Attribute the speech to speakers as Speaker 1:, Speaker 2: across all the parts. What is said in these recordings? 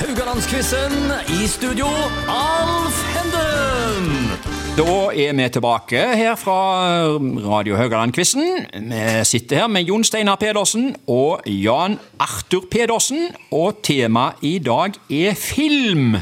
Speaker 1: Rogalandsquizen. I studio, Alf Henden.
Speaker 2: Da er vi tilbake her fra Radio Haugaland-quizen. Vi sitter her med Jon Steinar Pedersen og Jan Arthur Pedersen. Og temaet i dag er film.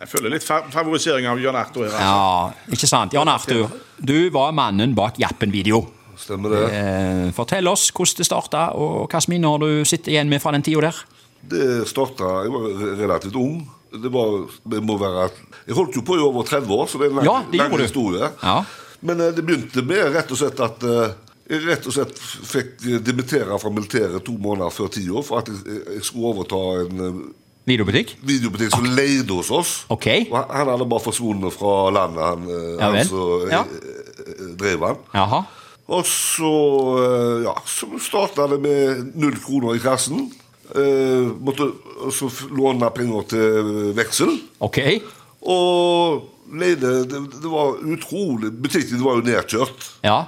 Speaker 3: Jeg føler litt fa- favorisering av Jan Arthur her. altså.
Speaker 2: Ja, ikke sant? Jan Arthur, du var mannen bak Jappen-video.
Speaker 4: Stemmer det.
Speaker 2: Eh, fortell oss hvordan det starta, og hva slags minner du sitter igjen med fra den tida der.
Speaker 4: Det starta Jeg var re- relativt ung. Det var, det må være at, Jeg holdt jo på i over 30 år, så det er en lang,
Speaker 2: Ja, det gjorde
Speaker 4: lang
Speaker 2: du.
Speaker 4: historie.
Speaker 2: Ja.
Speaker 4: Men eh, det begynte med rett og slett at eh, jeg rett og slett fikk eh, dimittere fra militæret to måneder før tiår for at jeg, jeg skulle overta en eh,
Speaker 2: Videobutikk?
Speaker 4: videobutikk som leide hos oss.
Speaker 2: Ok.
Speaker 4: Og han, han hadde bare forsvunnet fra landet, han, eh,
Speaker 2: Ja vel.
Speaker 4: han som eh,
Speaker 2: Ja.
Speaker 4: eh, drev han.
Speaker 2: Jaha.
Speaker 4: Og så, eh, ja, så starta det med null kroner i kassen. Eh, måtte også f- låne penger til eh, veksel.
Speaker 2: Ok.
Speaker 4: Og leide det, det var utrolig Butikken var jo nedkjørt.
Speaker 2: Ja.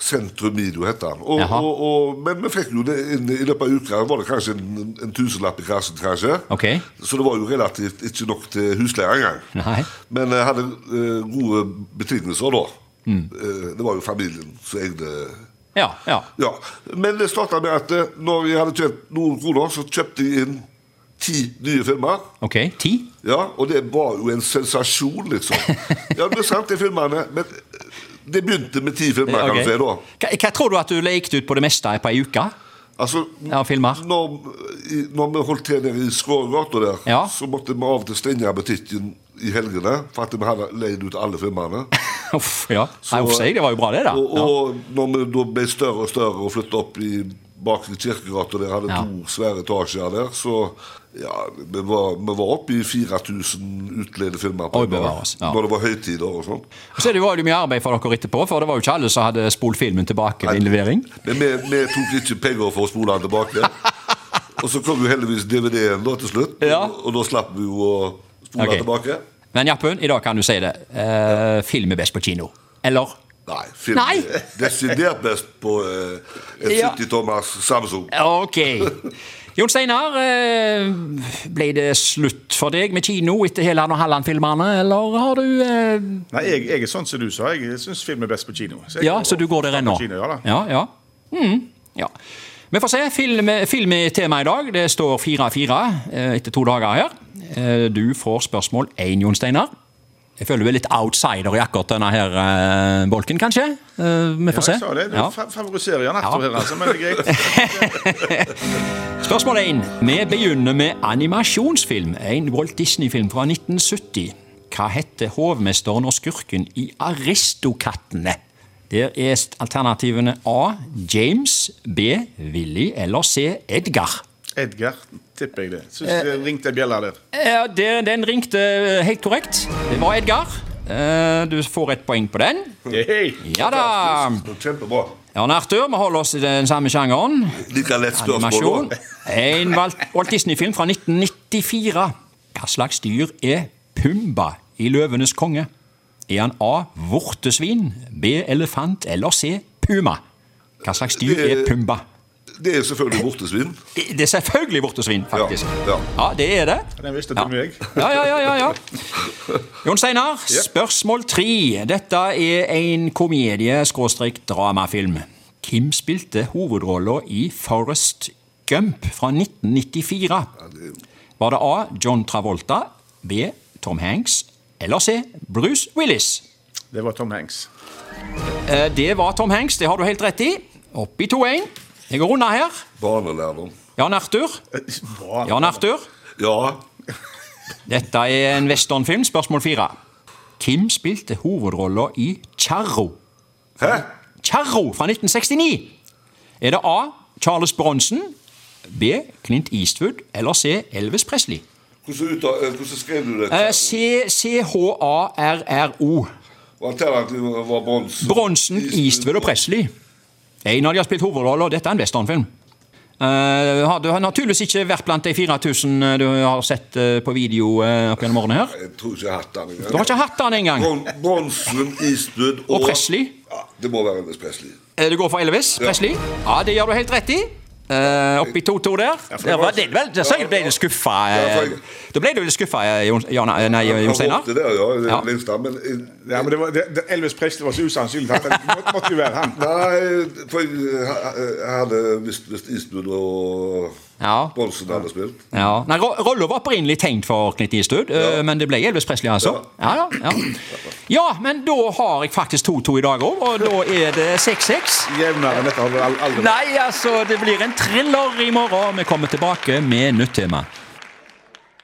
Speaker 4: Sentrum Video het den. Og,
Speaker 2: Jaha.
Speaker 4: og, og, men vi fikk jo det inn i løpet av uka. Var det kanskje en, en tusenlapp i kassen, kanskje.
Speaker 2: Ok.
Speaker 4: Så det var jo relativt ikke nok til husleie engang.
Speaker 2: Nei.
Speaker 4: Men jeg hadde eh, gode betingelser da.
Speaker 2: Mm.
Speaker 4: Eh, det var jo familien som eide
Speaker 2: Ja. ja.
Speaker 4: ja, Men det starta med at eh, når jeg hadde tjent noen kroner, så kjøpte jeg inn ti nye filmer.
Speaker 2: Ok. Ti?
Speaker 4: Ja, Og det var jo en sensasjon, liksom. Ja, det er sant, de filmene. Men eh, det begynte med ti filmer, kan
Speaker 2: Ok.
Speaker 4: du si. da.
Speaker 2: Hva, hva tror du at du lekte ut på det meste på ei uke?
Speaker 4: Altså,
Speaker 2: Ja, filmer.
Speaker 4: Når, i- når vi holdt til nede i Skrågata der,
Speaker 2: Ja.
Speaker 4: så måtte vi av og til stenge butikken i helgene for at vi hadde leid ut alle filmene.
Speaker 2: Uff, ja. Nei, uff, sier jeg, det var jo bra, det, da.
Speaker 4: Og,
Speaker 2: Ja.
Speaker 4: og når vi da ble større og større og flytta opp i bakre kirkegata der, hadde
Speaker 2: Ja.
Speaker 4: to svære etasjer der, så ja, vi var, vi var oppe i 4000 utleidefilmer på
Speaker 2: Oi,
Speaker 4: en dag,
Speaker 2: bevares, ja.
Speaker 4: når det var høytider og sånn.
Speaker 2: Og Så det var det jo mye arbeid for dere etterpå, for det var jo ikke alle som hadde spolt filmen tilbake ved innlevering.
Speaker 4: Men vi, vi tok ikke penger for å spole den tilbake. og så kom jo heldigvis DVD-en da til slutt,
Speaker 2: Ja.
Speaker 4: og, og da slapp vi jo å spole
Speaker 2: Ok.
Speaker 4: den tilbake.
Speaker 2: Men Jappen, i dag kan du si det. Eh, film er best på kino. Eller?
Speaker 4: Nei. Film,
Speaker 2: Nei.
Speaker 4: Desidert best på eh, en
Speaker 2: Ja.
Speaker 4: 70-tommers Samsung.
Speaker 2: Ok. Jon Steinar, eh, ble det slutt for deg med kino etter Heland og Halland-filmene, eller har du eh,
Speaker 3: Nei, jeg, jeg er sånn som du sa. Jeg syns film er best på kino. jeg
Speaker 2: Ja, så du går der ennå?
Speaker 3: Kino, ja, da.
Speaker 2: ja, ja. Mm, ja. Vi får se. Film, film er tema i dag. Det står 4-4 eh, etter to dager her. Eh, Du får spørsmål én, Jon Steinar. Jeg føler du er litt outsider i akkurat denne her eh, bolken, kanskje. Eh, Vi
Speaker 3: Ja,
Speaker 2: får se.
Speaker 3: jeg sa det. Du
Speaker 2: Ja.
Speaker 3: fa- favoriserer Jan Arthur her, altså. Men det er greit.
Speaker 2: Spørsmål 1. Vi begynner med animasjonsfilm. En Walt Disney-film fra 1970. Hva heter hovmesteren og skurken i Aristokattene? Der er st- alternativene A. James. B. Willy. Eller C. Edgar.
Speaker 3: Edgar, tipper jeg det. Syns
Speaker 2: Eh.
Speaker 3: det ringte ei bjelle der.
Speaker 2: Ja, det, den ringte eh, helt korrekt. Det var Edgar. Eh, Du får et poeng på den.
Speaker 3: Hey.
Speaker 2: Ja da!
Speaker 4: Kjempebra.
Speaker 2: Jan Arthur, vi holder oss i den samme sjangeren.
Speaker 4: Like lett spørsmål.
Speaker 2: Animasjon.
Speaker 4: da.
Speaker 2: En Walt Walt Disney-film fra 1994. Hva slags dyr er Pumba i Løvenes konge? Er han A. Vortesvin, B. Elefant eller C. Puma? Hva slags dyr er Pumba?
Speaker 4: Det er selvfølgelig vortesvin.
Speaker 2: Det det er selvfølgelig vortesvin, faktisk.
Speaker 4: Ja,
Speaker 2: ja det er det.
Speaker 3: Den visste du
Speaker 2: Ja.
Speaker 3: med meg.
Speaker 2: Ja, ja, ja, ja, ja. Jon Steinar, spørsmål tre. Dette er en komedie-dramafilm. Kim spilte hovedrollen i Forrest Gump fra 1994. Var det A. John Travolta, B. Tom Hanks eller C. Bruce Willis?
Speaker 3: Det var Tom Hanks.
Speaker 2: Eh, Det var Tom Hanks, det har du helt rett i. Opp i 2-1. Jeg går unna her.
Speaker 4: Barnelærdom.
Speaker 2: Jan Arthur.
Speaker 3: Eh, Bra.
Speaker 2: Jan Arthur.
Speaker 4: Ja,
Speaker 2: Dette er en westernfilm, spørsmål fire. Kim spilte hovedrollen i Charro.
Speaker 4: Hæ?
Speaker 2: Charro fra 1969. Er det A. Charles Bronson, B. Clint Eastwood eller C. Elvis Presley?
Speaker 4: Hvordan, ut, eh, hvordan skrev du det?
Speaker 2: Eh, C- C-H-A-R-R-O.
Speaker 4: Og Alternativet var brons.
Speaker 2: Bronsen, Eastwood og Presley. En av de har spilt hovedroller, og dette er en westernfilm. Eh, har- du har naturligvis ikke vært blant de 4000 du har sett eh, på video eh, opp gjennom årene her.
Speaker 4: Jeg tror ikke jeg har hatt den engang.
Speaker 2: Du har ikke hatt den engang.
Speaker 4: Bron Bronsen, Eastwood og
Speaker 2: Og Presley.
Speaker 4: Ja, det må være Elvis Presley.
Speaker 2: Eh, Det går for Elvis Presley. Ja, det gjør du helt rett i. Eh, oppi 2-2 der. der
Speaker 4: for det
Speaker 2: var
Speaker 4: var-
Speaker 2: det vel, der sikkert ble du skuffa.
Speaker 4: Ja, for-
Speaker 2: Da ble du litt skuffa, Jon Jan- eh, nei, Jon Steinar.
Speaker 4: Det der, ja, det
Speaker 2: Ja.
Speaker 4: Lindstad, men eh,
Speaker 3: Ja, men det var, det, det, Elvis Presley var så usannsynlig at det måtte, måtte jo være han.
Speaker 4: Nei, for jeg ha- jeg hadde hvis, hvis Isbjørn og
Speaker 2: Ja.
Speaker 4: Bonsen hadde spilt.
Speaker 2: Ja. Nei, Ro- Rollo var opprinnelig tenkt for Knut Eastwood, eh, men det ble Elvis Presley, altså. Ja, ja, ja. ja men da har jeg faktisk 2-2 i dag òg, og da er det 6-6.
Speaker 3: Jevnere enn dette har det aldri vært.
Speaker 2: Nei, altså, det blir en thriller i morgen. Vi kommer tilbake med nytt tema.